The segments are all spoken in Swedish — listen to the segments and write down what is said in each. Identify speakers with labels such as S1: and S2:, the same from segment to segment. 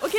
S1: Okej,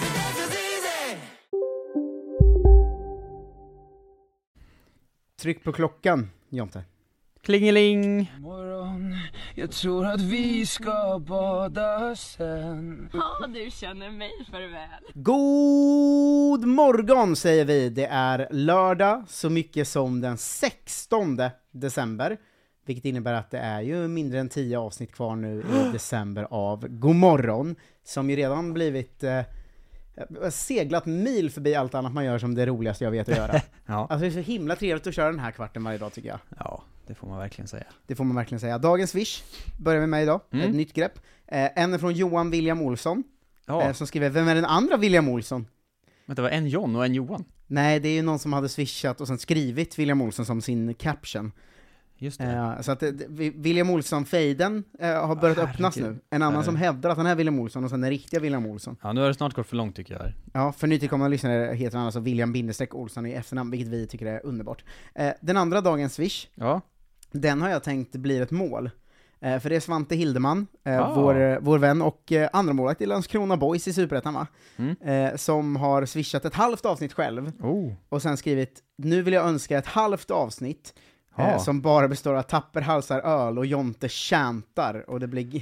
S2: Tryck på klockan, Jonte.
S3: Klingeling!
S4: Morgon, jag tror att vi ska bada sen
S5: Ja, du känner mig för väl.
S2: God morgon säger vi! Det är lördag så mycket som den 16 december. Vilket innebär att det är ju mindre än 10 avsnitt kvar nu i december av God morgon. Som ju redan blivit eh, seglat mil förbi allt annat man gör som det roligaste jag vet att göra.
S3: Ja.
S2: Alltså det är så himla trevligt att köra den här kvarten varje dag tycker jag.
S3: ja, det får man verkligen säga.
S2: Det får man verkligen säga. Dagens Swish börjar med mig idag, ett nytt grepp. Eh, en är från Johan William Olsson,
S3: Ja,
S2: eh, som skriver “Vem är den andra William Olsson?”
S3: men det var en John och en Johan.
S2: Nej, det är ju någon som hade swishat och sen skrivit William Olsson som sin caption.
S3: Just det.
S2: Eh, så att det- det- Vi- William Olsson-fejden eh, har börjat
S3: Ah,
S2: öppnas nu.
S3: herregud.
S2: En annan
S3: Är
S2: som
S3: det-
S2: hävdar att han är William Olsson och sen den riktiga William Olsson.
S3: Ja, nu har det snart gått för långt tycker jag. här.
S2: Ja, för nytillkomna lyssnare heter han alltså William Bindestreck Olsson i efternamn, vilket vi tycker är underbart. Eh, den andra dagens swish,
S3: Ja,
S2: den har jag tänkt blir ett mål. Eh, för det är Svante Hildeman, eh,
S3: Ah.
S2: vår, eh, vår vän och eh, andra målvakt i Landskrona Boys i Superettan va?
S3: Mm.
S2: Eh, som har swishat ett halvt avsnitt själv,
S3: oh.
S2: och sen skrivit “Nu vill jag önska ett halvt avsnitt
S3: Ja.
S2: eh, som bara består av tapper halsar öl och Jonte tjantar” och det blir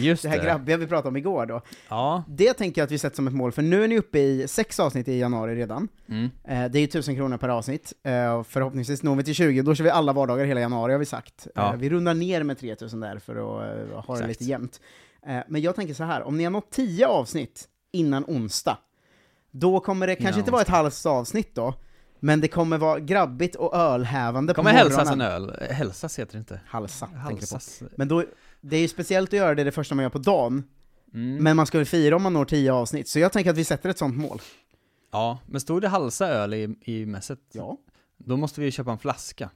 S3: just
S2: det här grabbiga vi pratade om igår då.
S3: Ja,
S2: Det tänker jag att vi sätter som ett mål, för nu är ni uppe i sex avsnitt i januari redan.
S3: Mm.
S2: Eh, det är ju tusen kronor per avsnitt, eh, och förhoppningsvis når vi till 20, då kör vi alla vardagar hela januari har vi sagt.
S3: Ja.
S2: Eh, vi rundar ner med 3000 där för att eh, ha det
S3: Exakt.
S2: lite jämnt. Eh, men jag tänker så här, om ni har nått 10 avsnitt innan onsdag, då kommer det kanske inte vara ett halvt avsnitt då, men det kommer vara grabbigt och ölhävande
S3: kommer
S2: på
S3: hälsas en
S2: morgonen.
S3: öl. Eh, Hälsas heter det inte.
S2: Halsa, tänker jag på.
S3: Halsas.
S2: Men då, det är ju speciellt att göra det det första man gör på dagen,
S3: Mm.
S2: men man ska väl fira om man når 10 avsnitt, så jag tänker att vi sätter ett sånt mål.
S3: Ja, men stod det halsa öl i, i mässet?
S2: Ja.
S3: Då måste vi ju köpa en flaska.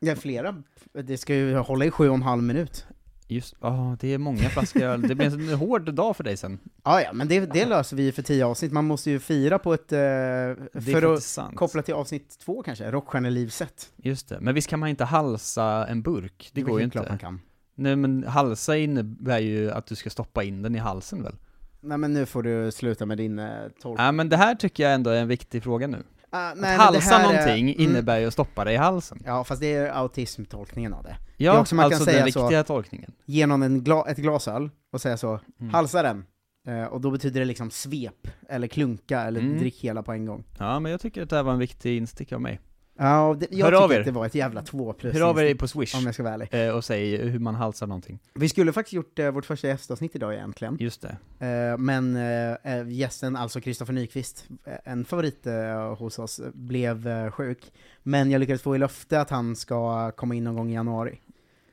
S2: Ja, flera. Det ska ju hålla i sju och en halv minut.
S3: Just, ja, det är många flaskor öl. Det blir en hård dag för dig sen.
S2: Ah, Ja, ja, men det, det löser vi ju för 10 avsnitt. Man måste ju fira på ett... Eh,
S3: Det
S2: för
S3: är
S2: att
S3: intressant.
S2: koppla till avsnitt två kanske, Rockstjärnelivset.
S3: Just det. Men visst kan man inte halsa en burk? Det går ju
S2: klart man
S3: inte.
S2: kan.
S3: Nej men halsa innebär ju att du ska stoppa in den i halsen väl?
S2: Nej men nu får du sluta med din eh, tolk.
S3: Ja men det här tycker jag ändå är en viktig fråga nu.
S2: Ah,
S3: Äh, att
S2: nej, men det
S3: halsa
S2: här är-
S3: någonting
S2: mm.
S3: innebär ju att stoppa det i halsen.
S2: Ja, fast det är autismtolkningen av det.
S3: Ja,
S2: är också man kan
S3: alltså
S2: säga
S3: den
S2: så.
S3: riktiga tolkningen.
S2: Ge någon en gla, ett glas öl och säga så, halsa den. Eh, och då betyder det liksom svep, eller klunka, eller
S3: Mm.
S2: drick hela på en gång.
S3: Ja, men jag tycker att det här var en viktig instick av mig.
S2: Ja, och det, jag
S3: Hör
S2: tycker
S3: av er.
S2: att det var ett jävla två plus
S3: Hör av er
S2: instinkt,
S3: på Swish
S2: om jag ska vara ärlig.
S3: eh, och säg hur man halsar någonting.
S2: Vi skulle faktiskt gjort eh, vårt första gästavsnitt idag egentligen,
S3: Just det.
S2: eh, men eh, eh, gästen, alltså Kristoffer Nyqvist, eh, en favorit eh, hos oss, eh, blev eh, sjuk. Men jag lyckades få i löfte att han ska komma in någon gång i januari.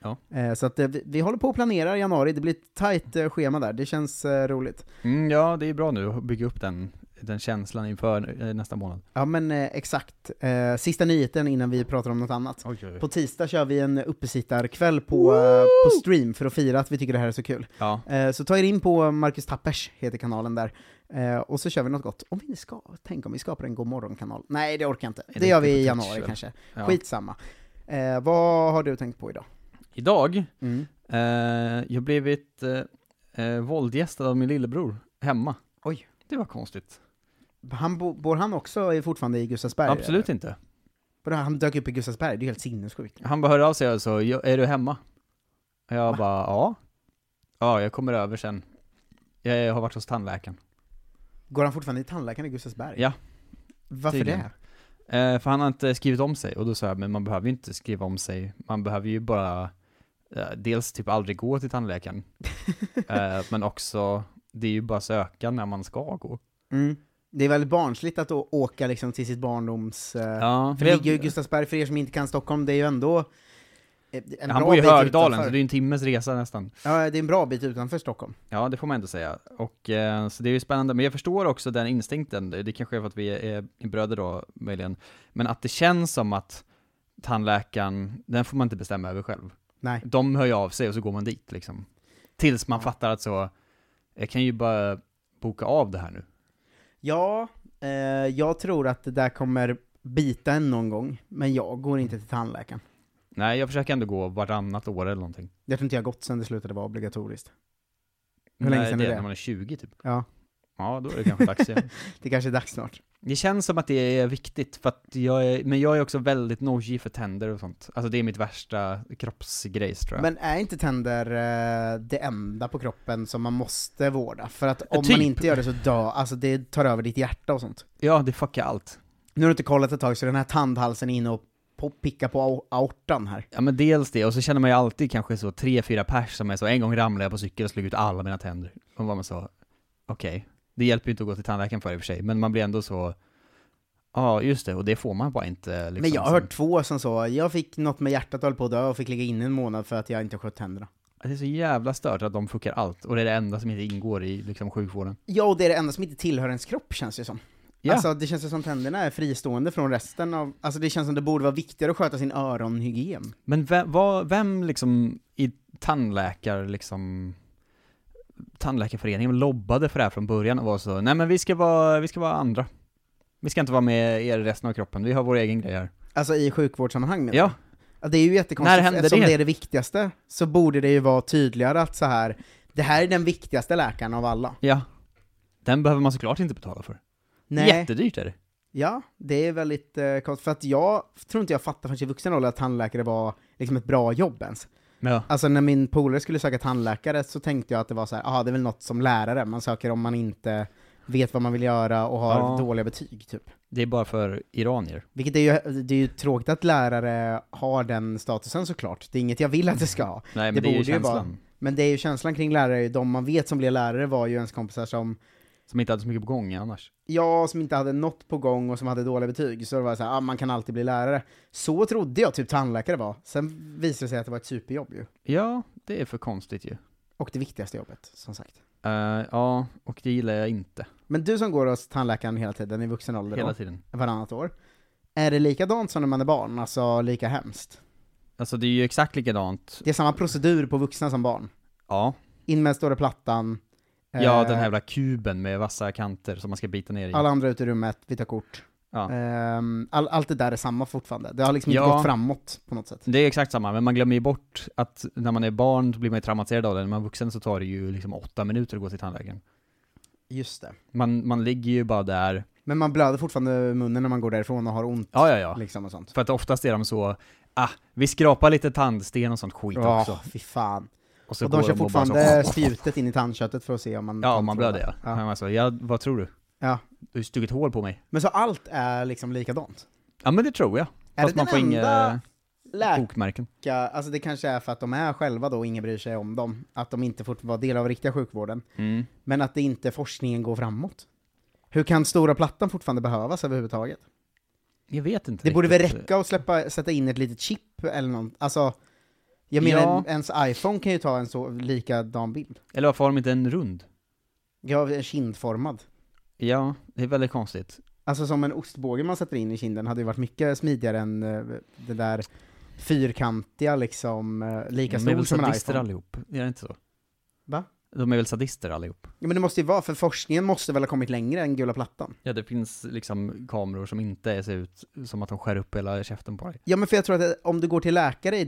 S3: Ja.
S2: Eh, så att, eh, vi, vi håller på att planera januari, det blir ett tajt eh, schema där, det känns eh, roligt.
S3: Mm, ja, det är bra nu att bygga upp den, den känslan inför eh, nästa månad.
S2: Ja men eh, exakt, eh, sista nyheten innan vi pratar om något annat.
S3: Oj, oj,
S2: På tisdag kör vi en uppesittarkväll på, eh, på stream för att fira att vi tycker det här är så kul.
S3: Ja,
S2: Eh, Så ta er in på Marcus Tappers, heter kanalen där. Eh, Och så kör vi något gott. Om vi ska, tänk om vi skapar en God morgon-kanal. Nej, det orkar jag inte.
S3: det
S2: Det gör vi
S3: inte
S2: i
S3: på
S2: januari
S3: touch, väl?
S2: kanske.
S3: ja.
S2: Skitsamma. Eh, vad har du tänkt på idag?
S3: Idag,
S2: Mm.
S3: eh, jag blivit eh, eh, våldgästad av min lillebror hemma.
S2: Oj.
S3: Det var konstigt.
S2: Han, bo- bor han också i- fortfarande i Gustavsberg?
S3: Absolut inte.
S2: Eller? Han dök upp i Gustavsberg, det är ju helt sinnessjukt.
S3: Han bara hörde av sig och sa, "Ja, är du hemma? Och jag bara, ja. Ja, jag kommer över sen. Jag har varit hos tandläkaren.
S2: Går han fortfarande i tandläkaren i Gustavsberg?
S3: Ja,
S2: Varför
S3: tydligen.
S2: det?
S3: Eh, för han har inte skrivit om sig och då sa jag, men man behöver ju inte skriva om sig, man behöver ju bara eh, dels typ aldrig gå till tandläkaren, eh, men också, det är ju bara söka när man ska gå.
S2: Mm. Det är väldigt barnsligt att å- åka liksom till sitt barndoms... eh,
S3: Ja,
S2: För det ligger ju i Gustavsberg, för er som inte kan Stockholm, det är ju ändå... eh, En
S3: han
S2: bra
S3: bor ju i
S2: bit
S3: Högdalen, så
S2: utanför.
S3: det är ju en timmes resa nästan.
S2: Ja, det är en bra bit utanför Stockholm.
S3: Ja, det får man ändå säga. Och, eh, så det är ju spännande, men jag förstår också den instinkten, det det kanske är för att vi är, är bröder då, möjligen, men att det känns som att tandläkaren, den får man inte bestämma över själv.
S2: Nej.
S3: De hör ju av sig och så går man dit liksom. Tills man fattar att så, jag kan ju bara boka av det här nu.
S2: Ja, eh, jag tror att det där kommer bita en någon gång, men jag går inte till tandläkaren.
S3: Nej, jag försöker ändå gå varannat år eller någonting.
S2: Jag tror inte jag har gått sen det slutade vara obligatoriskt. Hur länge
S3: Nej,
S2: sedan är det?
S3: När man är 20 typ.
S2: Ja,
S3: Ja, då är det kanske dags igen.
S2: det kanske är dags snart.
S3: Det känns som att det är viktigt, för att jag är, men jag är också väldigt nojig för tänder och sånt. Alltså det är mitt värsta kroppsgrej tror jag.
S2: Men är inte tänder eh, det enda på kroppen som man måste vårda? För att om
S3: Typ.
S2: man inte gör det så dör, alltså det tar över ditt hjärta och sånt.
S3: Ja, det fuckar allt.
S2: Nu har du inte kollat ett tag, så den här tandhalsen är inne och po- pickar på au- aortan här.
S3: Ja men dels det, och så känner man ju alltid kanske så tre, fyra pers som är så, en gång ramlade jag på cykel och slog ut alla mina tänder. Och var man så, okej, det hjälper ju inte att gå till tandläkaren för i och för sig, men man blir ändå så, ja just det, och det får man bara inte liksom.
S2: Men jag har
S3: sen.
S2: hört två som så, jag fick något med hjärtat och höll på att dö och fick ligga inne en månad för att jag inte skött tänderna.
S3: Det är så jävla stört att de fuckar allt, och det är det enda som inte ingår i liksom sjukvården.
S2: Ja, och det är det enda som inte tillhör ens kropp känns det som.
S3: Ja.
S2: Alltså det känns ju som tänderna är fristående från resten av, alltså det känns som det borde vara viktigare att sköta sin öronhygien.
S3: Men vem, vad, vem liksom i tandläkar, liksom tandläkarföreningen lobbade för det här från början och var så, nej men vi ska vara, vi ska vara andra. Vi ska inte vara med er i resten av kroppen, vi har vår egen grej här.
S2: Alltså i sjukvårdssammanhang menar
S3: Ja,
S2: jag. Alltså, Det är ju
S3: När
S2: jättekonstigt,
S3: hände
S2: eftersom
S3: det?
S2: det? är det viktigaste, så borde det ju vara tydligare att så här det här är den viktigaste läkaren av alla.
S3: ja. Den behöver man såklart inte betala för.
S2: Nej.
S3: Jättedyrt är det.
S2: Ja, det är väldigt eh, konstigt, för att jag tror inte jag fattar förrän i vuxen ålder att tandläkare var liksom ett bra jobb ens.
S3: Men ja.
S2: Alltså när min polare skulle söka tandläkare så tänkte jag att det var så här, aha, det är väl något som lärare, man söker om man inte vet vad man vill göra och har
S3: Ja.
S2: dåliga betyg typ.
S3: Det är bara för iranier.
S2: Vilket är ju, det är ju tråkigt att lärare har den statusen såklart, det är inget jag vill att det ska ha.
S3: Nej men
S2: Det
S3: det, är ju
S2: borde ju vara-
S3: känslan.
S2: Men det är ju känslan kring lärare, de man vet som blev lärare var ju ens kompisar som,
S3: Som inte hade så mycket på gång annars.
S2: ja, som inte hade något på gång och som hade dåliga betyg, så det var så här, ah, man kan alltid bli lärare. Så trodde jag typ tandläkare var, sen visade det sig att det var ett superjobb ju.
S3: Ja, det är för konstigt ju.
S2: Och det viktigaste jobbet, som sagt.
S3: Eh, ja, och det gillar jag inte.
S2: Men du som går hos tandläkaren hela tiden i vuxen ålder då?
S3: Hela tiden.
S2: varannat år. Är det likadant som när man är barn? Alltså lika hemskt?
S3: Alltså det är ju exakt likadant.
S2: Det är samma procedur på vuxna som barn.
S3: Ja.
S2: In med den stora plattan.
S3: Ja,
S2: eh,
S3: den här jävla kuben med vassa kanter som man ska bita ner i.
S2: Alla andra ut i rummet, vi tar kort.
S3: Ja.
S2: Ehm, all, allt det där är samma fortfarande. Det har liksom inte
S3: Ja.
S2: gått framåt på något sätt.
S3: Det är exakt samma, men man glömmer ju bort att när man är barn så blir man ju traumatiserad av det, när man är vuxen så tar det ju liksom åtta minuter att gå till tandläkaren.
S2: Just det.
S3: Man, man ligger ju bara där,
S2: Men man blöder fortfarande ur munnen när man går därifrån och har ont.
S3: ja ja ja.
S2: Liksom och sånt.
S3: För att oftast är de så, ah, vi skrapar lite tandsten och sånt skit
S2: Ja,
S3: också.
S2: fy fan.
S3: Och så
S2: och de
S3: går
S2: kör
S3: och bara så-
S2: fortfarande spjutet in i tandköttet för att se om man...
S3: Ja,
S2: om
S3: man blöder ja. ja. Man så, ja. Vad tror du?
S2: Ja.
S3: Du har stuckit hål på mig.
S2: Men så allt är liksom likadant?
S3: Ja men det tror jag.
S2: Är
S3: Fast
S2: det
S3: man
S2: den
S3: får
S2: enda
S3: inga Oh.
S2: Läkare
S3: bokmärken.
S2: olika, alltså det kanske är för att de är själva då och ingen bryr sig om dem, att de inte får vara del av riktiga sjukvården,
S3: Mm.
S2: men att det inte forskningen går framåt. Hur kan stora plattan fortfarande behövas överhuvudtaget?
S3: Jag vet inte
S2: Det borde väl
S3: riktigt.
S2: räcka att släppa, sätta in ett litet chip eller något, alltså jag menar,
S3: Ja.
S2: ens iPhone kan ju ta en så likadan bild.
S3: Eller varför har de inte en rund?
S2: Ja, en kindformad.
S3: Ja, det är väldigt konstigt.
S2: Alltså som en ostbåge man sätter in i kinden hade ju varit mycket smidigare än eh, det där fyrkantiga liksom, eh, lika
S3: de är
S2: stor
S3: väl
S2: som en
S3: sadister
S2: iPhone.
S3: allihop? Är det inte så?
S2: Va?
S3: De är väl sadister allihop?
S2: Ja, men det måste ju vara, för forskningen måste väl ha kommit längre än gula plattan?
S3: Ja, det finns liksom kameror som inte ser ut som att de skär upp hela käften på dig.
S2: Ja men för jag tror att eh, om du går till läkare i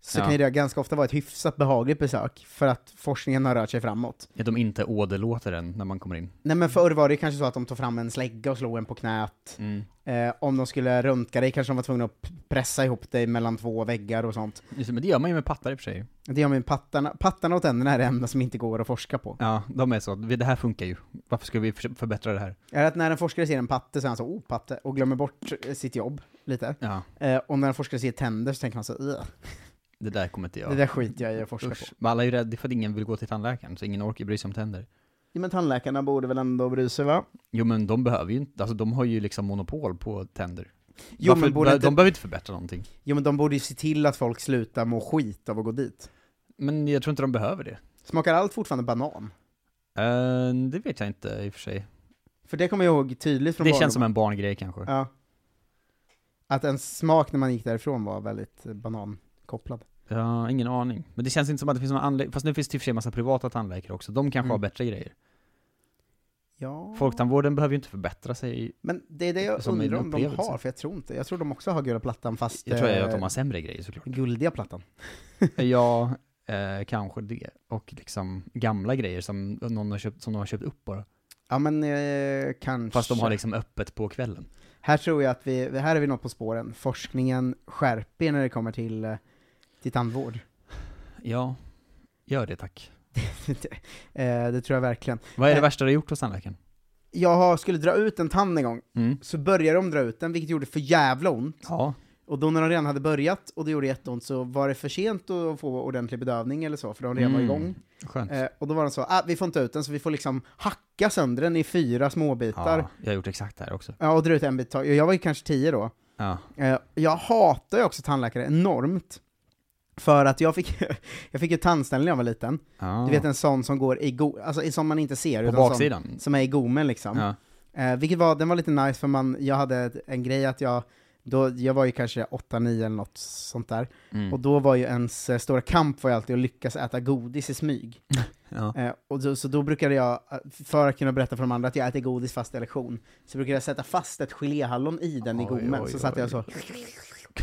S2: så
S3: Ja.
S2: kan ju det ganska ofta vara ett hyfsat behagligt besök, för att forskningen har rört sig framåt.
S3: Att de inte åderlåter en när man kommer in.
S2: Nej men förr var det kanske så att de tog fram en slägga och slog en på knät. Eh, om de skulle röntga dig kanske de var tvungna att p- pressa ihop dig mellan två väggar och sånt.
S3: Just det, Men det gör man ju med pattar i och för sig.
S2: Det gör med pattarna, pattarna och tänderna är det enda som inte går att forska på.
S3: Ja, de är så. Vi- Det här funkar ju. Varför ska vi för- förbättra det här?
S2: Är att när en forskare ser en patte så är han så oh patte, och glömmer bort eh, sitt jobb lite.
S3: Ja,
S2: Eh, och när en forskare ser tänder så tänker han så "Ugh,
S3: det där kommer inte jag.
S2: det där skiter jag i att forska på.
S3: Usch. Men alla är ju rädda för att ingen vill gå till tandläkaren, så ingen orkar bry sig om tänder.
S2: Ja, men tandläkarna borde väl ändå bry sig va?
S3: Jo men de behöver ju inte, alltså de har ju liksom monopol på tänder.
S2: Jo,
S3: Varför,
S2: men borde
S3: de
S2: inte-
S3: behöver inte förbättra någonting.
S2: Jo men de borde ju se till att folk slutar må skit av att gå dit.
S3: Men jag tror inte de behöver det.
S2: Smakar allt fortfarande banan?
S3: Eh, det vet jag inte i och för sig.
S2: För det kommer jag ihåg tydligt från
S3: Det känns som
S2: barndomen.
S3: en barngrej kanske.
S2: Ja. Att en smak när man gick därifrån var väldigt eh, banankopplad.
S3: Ja, ingen aning. Men det känns inte som att det finns någon anläggning, fast nu finns det i och för sig en massa privata tandläkare också, de kanske
S2: Mm.
S3: har bättre grejer.
S2: Ja.
S3: Folktandvården behöver ju inte förbättra sig,
S2: Men det är det jag
S3: Som en
S2: undrar om de
S3: upplevelse.
S2: har, för jag tror inte. Jag tror de också har gula plattan fast...
S3: jag tror
S2: eh,
S3: ju att de har sämre grejer såklart.
S2: Guldiga plattan.
S3: ja, eh, kanske det. Och liksom gamla grejer som någon har köpt, som de har köpt upp bara.
S2: Ja men eh, kanske.
S3: Fast de har liksom öppet på kvällen.
S2: Här tror jag att vi, här är vi något på spåren. Forskningen skärper er när det kommer till, eh, till tandvård.
S3: Ja, gör det tack.
S2: Eh, det tror jag verkligen.
S3: Vad är det
S2: Eh.
S3: värsta du har gjort hos tandläkaren?
S2: Jag har- skulle dra ut en tand en gång,
S3: Mm.
S2: så började de dra ut den, vilket gjorde för jävla ont.
S3: Ja,
S2: Och då när de redan hade börjat, och det gjorde jätteont, så var det för sent att få ordentlig bedövning eller så, för de redan var
S3: Mm.
S2: igång.
S3: skönt.
S2: Eh, och då var de så, ah, vi får inte ut den, så vi får liksom hacka sönder den i fyra småbitar.
S3: Ja, jag har gjort exakt det här också.
S2: Ja, och dra ut en bit tag. Jag var ju kanske tio då.
S3: Ja.
S2: Eh, jag hatar ju också tandläkare enormt. För att jag fick, jag fick ju tandställning när jag var liten.
S3: Ja.
S2: Du vet en sån som går i go- alltså som man inte ser.
S3: Ah. På
S2: sån
S3: baksidan?
S2: som är i gommen liksom.
S3: Ja.
S2: Eh, vilket var, den var lite nice för man, jag hade ett- en grej att jag, då, jag var ju kanske 8-9 eller något sånt där.
S3: Mm.
S2: Och då var ju ens eh, stora kamp var ju alltid att lyckas äta godis i smyg.
S3: ja.
S2: Eh, och då, så då brukade jag, eh, för att kunna berätta för de andra att jag äter godis fast i lektion, så brukade jag sätta fast ett geléhallon i den i
S3: Oj,
S2: gommen,
S3: oj,
S2: så satt jag
S3: oj.
S2: så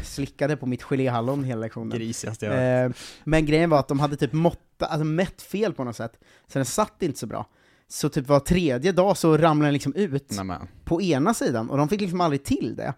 S2: slickade på mitt geléhallon hela lektionen.
S3: Grisigaste jag har
S2: Eh, men grejen var att de hade typ måtta, alltså mätt fel på något sätt, så den satt inte så bra. Så typ var tredje dag så ramlade den liksom ut
S3: Nej, men.
S2: på ena sidan, och de fick liksom aldrig till det.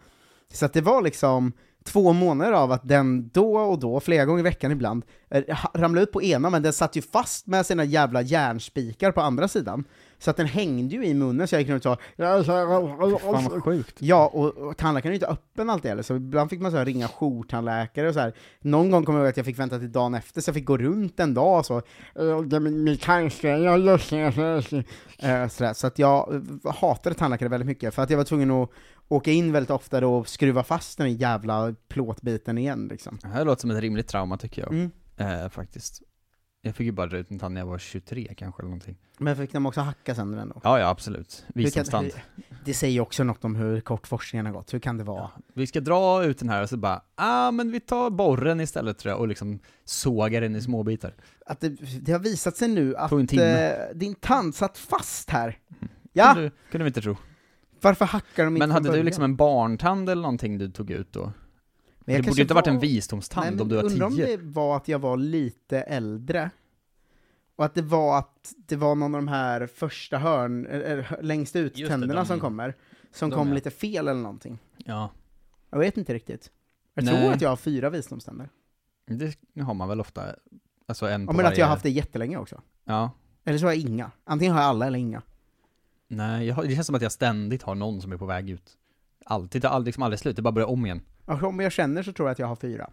S2: Så att det var liksom två månader av att den då och då, flera gånger i veckan ibland, eh, ha- ramlade ut på ena, men den satt ju fast med sina jävla järnspikar på andra sidan. Så att den hängde ju i munnen, så jag gick runt och
S3: Fan
S2: sa...
S3: vad sjukt.
S2: Ja, och, och tandläkaren är ju inte öppen alltid heller, så ibland fick man så här ringa jourtandläkare och så här. Någon gång kommer jag ihåg att jag fick vänta till dagen efter, så jag fick gå runt en dag och så. "Eh, det är Min min tandställning, jag har lösning, jag har lösning." Eh, Så, där. så att jag eh, hatade tandläkare väldigt mycket, för att jag var tvungen att åka in väldigt ofta då och skruva fast den jävla plåtbiten igen liksom.
S3: Det här låter som ett rimligt trauma tycker jag.
S2: Mm.
S3: Eh, faktiskt. Jag fick ju bara dra ut en tand när jag var 23 kanske eller någonting.
S2: Men fick de också hacka sönder den då?
S3: Ja, ja absolut.
S2: Hur kan-
S3: Visdomstand.
S2: hur- Det säger ju också något om hur kort forskningen har gått, hur kan det vara?
S3: Ja. Vi ska dra ut den här och så bara, ah men vi tar borren istället tror jag och liksom sågar den i småbitar.
S2: Att det, det har visat sig nu att
S3: Tog en timme.
S2: eh, din tand satt fast här. Ja!
S3: Kunde, kunde vi inte tro.
S2: Varför hackar de inte
S3: Men
S2: från
S3: hade du
S2: början?
S3: liksom en barntand eller någonting du tog ut då?
S2: Men jag
S3: det borde
S2: kanske
S3: ju inte varit en
S2: var- Nej,
S3: visdomstand
S2: men
S3: om du var
S2: Undrar om
S3: 10.
S2: det var att jag var lite äldre. Och att det var att det var någon av de här första hörn, eller, hö- längst ut
S3: Just det,
S2: tänderna
S3: de-
S2: som kommer, som
S3: de,
S2: kom
S3: ja.
S2: lite fel eller någonting.
S3: Ja,
S2: Jag vet inte riktigt. Jag
S3: Nej.
S2: tror att jag har fyra visdomständer.
S3: det har man väl ofta. Alltså en
S2: Ja,
S3: på
S2: men att
S3: varje...
S2: jag har haft det jättelänge också.
S3: Ja.
S2: Eller så har jag inga. Antingen har jag alla eller inga.
S3: Nej, jag, har- det känns som att jag ständigt har någon som är på väg ut. Alltid, det tar aldrig, liksom aldrig slut, det bara börjar om igen.
S2: Och Om jag känner så tror jag att jag har fyra.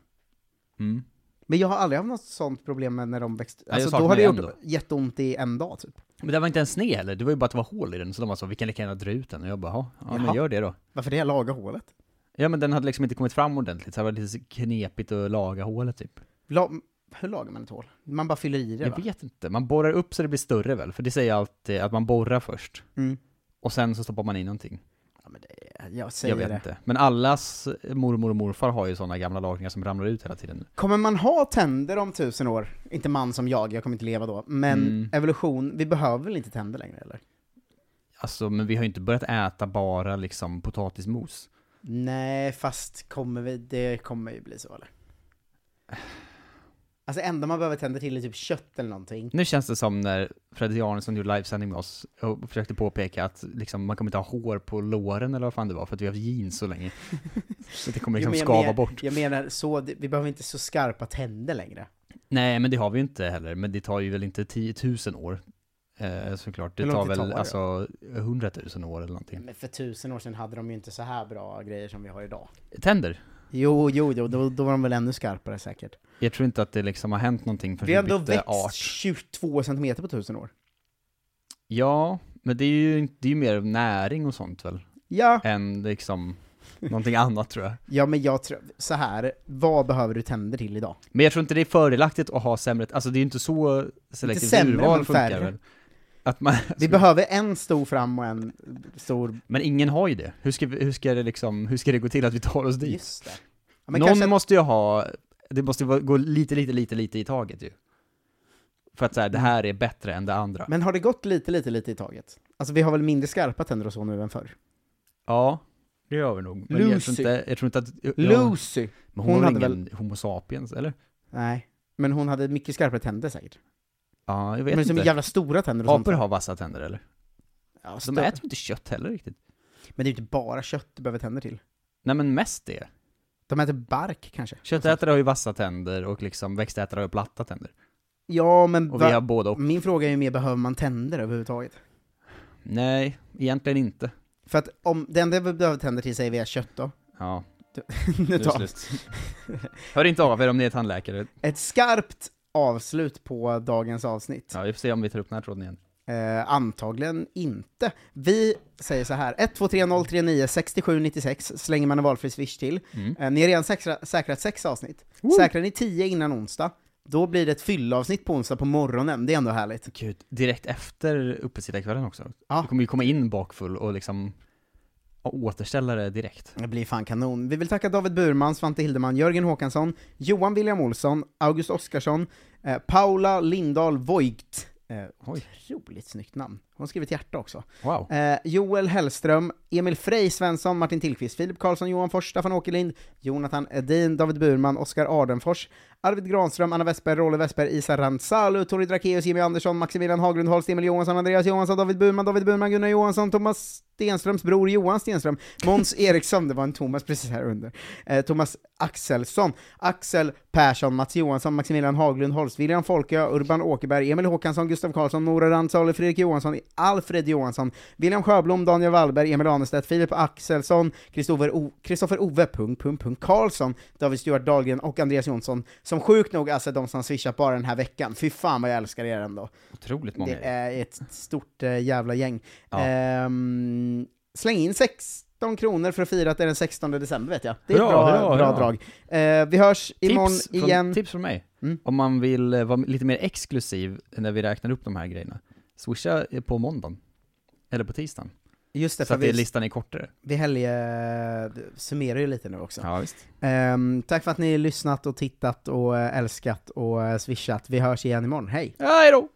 S3: Mm.
S2: Men jag har aldrig haft något sånt problem med när de växte.
S3: jag
S2: Alltså, då
S3: saknar
S2: har det
S3: ju
S2: gjort
S3: en då.
S2: jätteont i en dag typ.
S3: Men det var inte ens sned heller, det var ju bara att det var hål i den, så de var så, vi kan lika gärna dra ut den, och jag bara, "Ja, ja men
S2: Jaha.
S3: gör det då.
S2: Varför det? Laga hålet?
S3: Ja men den hade liksom inte kommit fram ordentligt, så det var lite knepigt att laga hålet typ.
S2: La... Hur lagar man ett hål? Man bara fyller i det va?
S3: Jag vet inte, man borrar upp så det blir större väl? För det säger jag alltid, att man borrar först.
S2: Mm.
S3: Och sen så stoppar man i någonting.
S2: Jag säger
S3: jag vet
S2: det.
S3: inte. Men allas mormor och morfar har ju sådana gamla lagningar som ramlar ut hela tiden.
S2: Kommer man ha tänder om tusen år? Inte man som jag, jag kommer inte leva då. Men
S3: Mm.
S2: evolution, vi behöver väl inte tänder längre eller?
S3: Alltså, men vi har ju inte börjat äta bara liksom potatismos.
S2: Nej, fast kommer vi, det kommer ju bli så eller? Alltså enda man behöver tänder till är typ kött eller någonting.
S3: Nu känns det som när Fredrik Arnesson gjorde livesändning med oss och försökte påpeka att liksom, man kommer inte ha hår på låren eller vad fan det var, för att vi har haft jeans så länge. så det kommer
S2: Jo,
S3: liksom
S2: men jag
S3: skava
S2: men-
S3: bort.
S2: Jag menar så, det- vi behöver inte så skarpa tänder längre.
S3: Nej, men det har vi ju inte heller, men det tar ju väl inte 10 000 år. Eh, såklart, det
S2: Hur
S3: tar
S2: långt det
S3: väl
S2: tar, ja.
S3: alltså 100 000 år eller någonting.
S2: Men för tusen år sedan hade de ju inte så här bra grejer som vi har idag.
S3: Tänder?
S2: Jo, jo, jo, då, då var de väl ännu skarpare säkert.
S3: Jag tror inte att det liksom har hänt någonting
S2: Vi har
S3: förrän vi
S2: ändå
S3: bytte
S2: växt
S3: art.
S2: 22 centimeter på tusen år.
S3: Ja, men det är ju, inte- det är ju mer näring och sånt väl?
S2: Ja,
S3: Än liksom någonting annat tror jag.
S2: ja men jag tror, så här, vad behöver du tänder till idag?
S3: Men jag tror inte det är fördelaktigt att ha sämre, alltså det är ju inte så selektivt
S2: sämre,
S3: urval
S2: men
S3: funkar
S2: färre.
S3: väl? Att man,
S2: Vi behöver en stor fram och en stor...
S3: men ingen har ju det. Hur ska, vi- hur ska det liksom, hur ska det gå till att vi tar oss dit?
S2: Just det. Ja, men
S3: Någon
S2: kanske,
S3: måste ju ha, det måste ju vara- gå lite, lite, lite, lite i taget ju. För att så här, det här är bättre än det andra.
S2: men har det gått lite, lite, lite i taget? Alltså vi har väl mindre skarpa tänder och så nu än förr?
S3: Ja, det gör vi nog. Men jag
S2: Lucy.
S3: tror inte, jag tror inte att... Ja,
S2: Lucy!
S3: men
S2: hon
S3: hon,
S2: hade
S3: hade ingen homo sapiens, eller?
S2: Nej, men hon hade mycket skarpare tänder säkert.
S3: Ja, jag vet
S2: Men som
S3: inte.
S2: jävla stora tänder och sånt.
S3: Apor har vassa tänder eller?
S2: Ja,
S3: De
S2: stö-
S3: äter inte kött heller riktigt.
S2: Men det är ju inte bara kött du behöver tänder till.
S3: Nej men mest det.
S2: De äter bark kanske.
S3: Köttätare har ju vassa tänder och liksom växtätare har ju platta tänder.
S2: Ja, men
S3: Och
S2: va-
S3: vi har båda och...
S2: min fråga är ju mer, behöver man tänder överhuvudtaget?
S3: Nej, egentligen inte.
S2: För att om det enda vi behöver tänder till säger vi är kött då.
S3: Ja,
S2: Nu
S3: nu är
S2: tar
S3: det slut. Hör inte av er om ni är tandläkare.
S2: Ett skarpt avslut på dagens avsnitt.
S3: Ja, vi får se om vi tar upp den här tråden igen.
S2: Eh, antagligen inte. Vi säger så här, 123039 6796 slänger man en valfri swish till.
S3: Mm.
S2: Eh, ni har redan säkra, säkrat sex avsnitt. Säkrar ni tio innan onsdag, då blir det ett fyllavsnitt på onsdag på morgonen. Det är ändå härligt.
S3: Gud, direkt efter uppesittarkvällen också.
S2: Ja.
S3: Du kommer ju komma in bakfull och liksom återställa det direkt.
S2: Det blir fan kanon. Vi vill tacka David Burman, Svante Hildeman, Jörgen Håkansson, Johan William Olsson, August Oskarsson, eh, Paula Lindahl Voigt. Eh,
S3: Oj.
S2: otroligt snyggt namn. Hon har skrivit hjärta också.
S3: Wow.
S2: Eh, Joel Hellström, Emil Frey Svensson, Martin Tillqvist, Filip Karlsson, Johan Fors, Staffan Åkerlind, Jonathan Edin, David Burman, Oskar Ardenfors, Arvid Granström, Anna Westberg, Rolle Westberg, Isa Ransalu, Tori Drakeus, Jimmy Andersson, Maximilian Haglund, Holst, Emil Johansson, Andreas Johansson, David Burman, David Burman, Gunnar Johansson, Thomas Stenströms bror Johan Stenström, Måns Eriksson, det var en Thomas precis här under, eh, Thomas Axelsson, Axel Persson, Mats Johansson, Maximilian Haglund, Holst, William Folkö, Urban Åkerberg, Emil Håkansson, Gustav Karlsson, Nora Rantsalu, Fredrik Johansson, Alfred Johansson, William Sjöblom, Daniel Wallberg, Emil Anerstedt, Filip Axelsson, Kristoffer O- Kristoffer Ove, punkt, punkt, punkt, Karlsson, David Stuart Dahlgren och Andreas Jonsson, som sjukt nog alltså är de som swishat bara den här veckan. Fy fan vad jag älskar er ändå.
S3: Otroligt många.
S2: Det är ett stort eh, jävla gäng.
S3: Ja.
S2: Ehm, släng in 16 kronor för att fira att det är den 16 december vet jag. Det är ett
S3: Hurra,
S2: bra,
S3: hurra,
S2: bra
S3: hurra.
S2: drag. Eh, vi hörs imorgon
S3: tips från,
S2: igen.
S3: Tips från mig.
S2: Mm.
S3: Om man vill eh, vara lite mer exklusiv när vi räknar upp de här grejerna, swisha eh, på måndagen. Eller på tisdagen.
S2: Just det,
S3: Så
S2: för
S3: att det,
S2: vi,
S3: listan är kortare.
S2: vi helge, summerar ju lite nu också.
S3: Ja, visst.
S2: Ehm, tack för att ni lyssnat och tittat och eh, älskat och eh, swishat. Vi hörs igen imorgon. Hej!
S3: Hej då!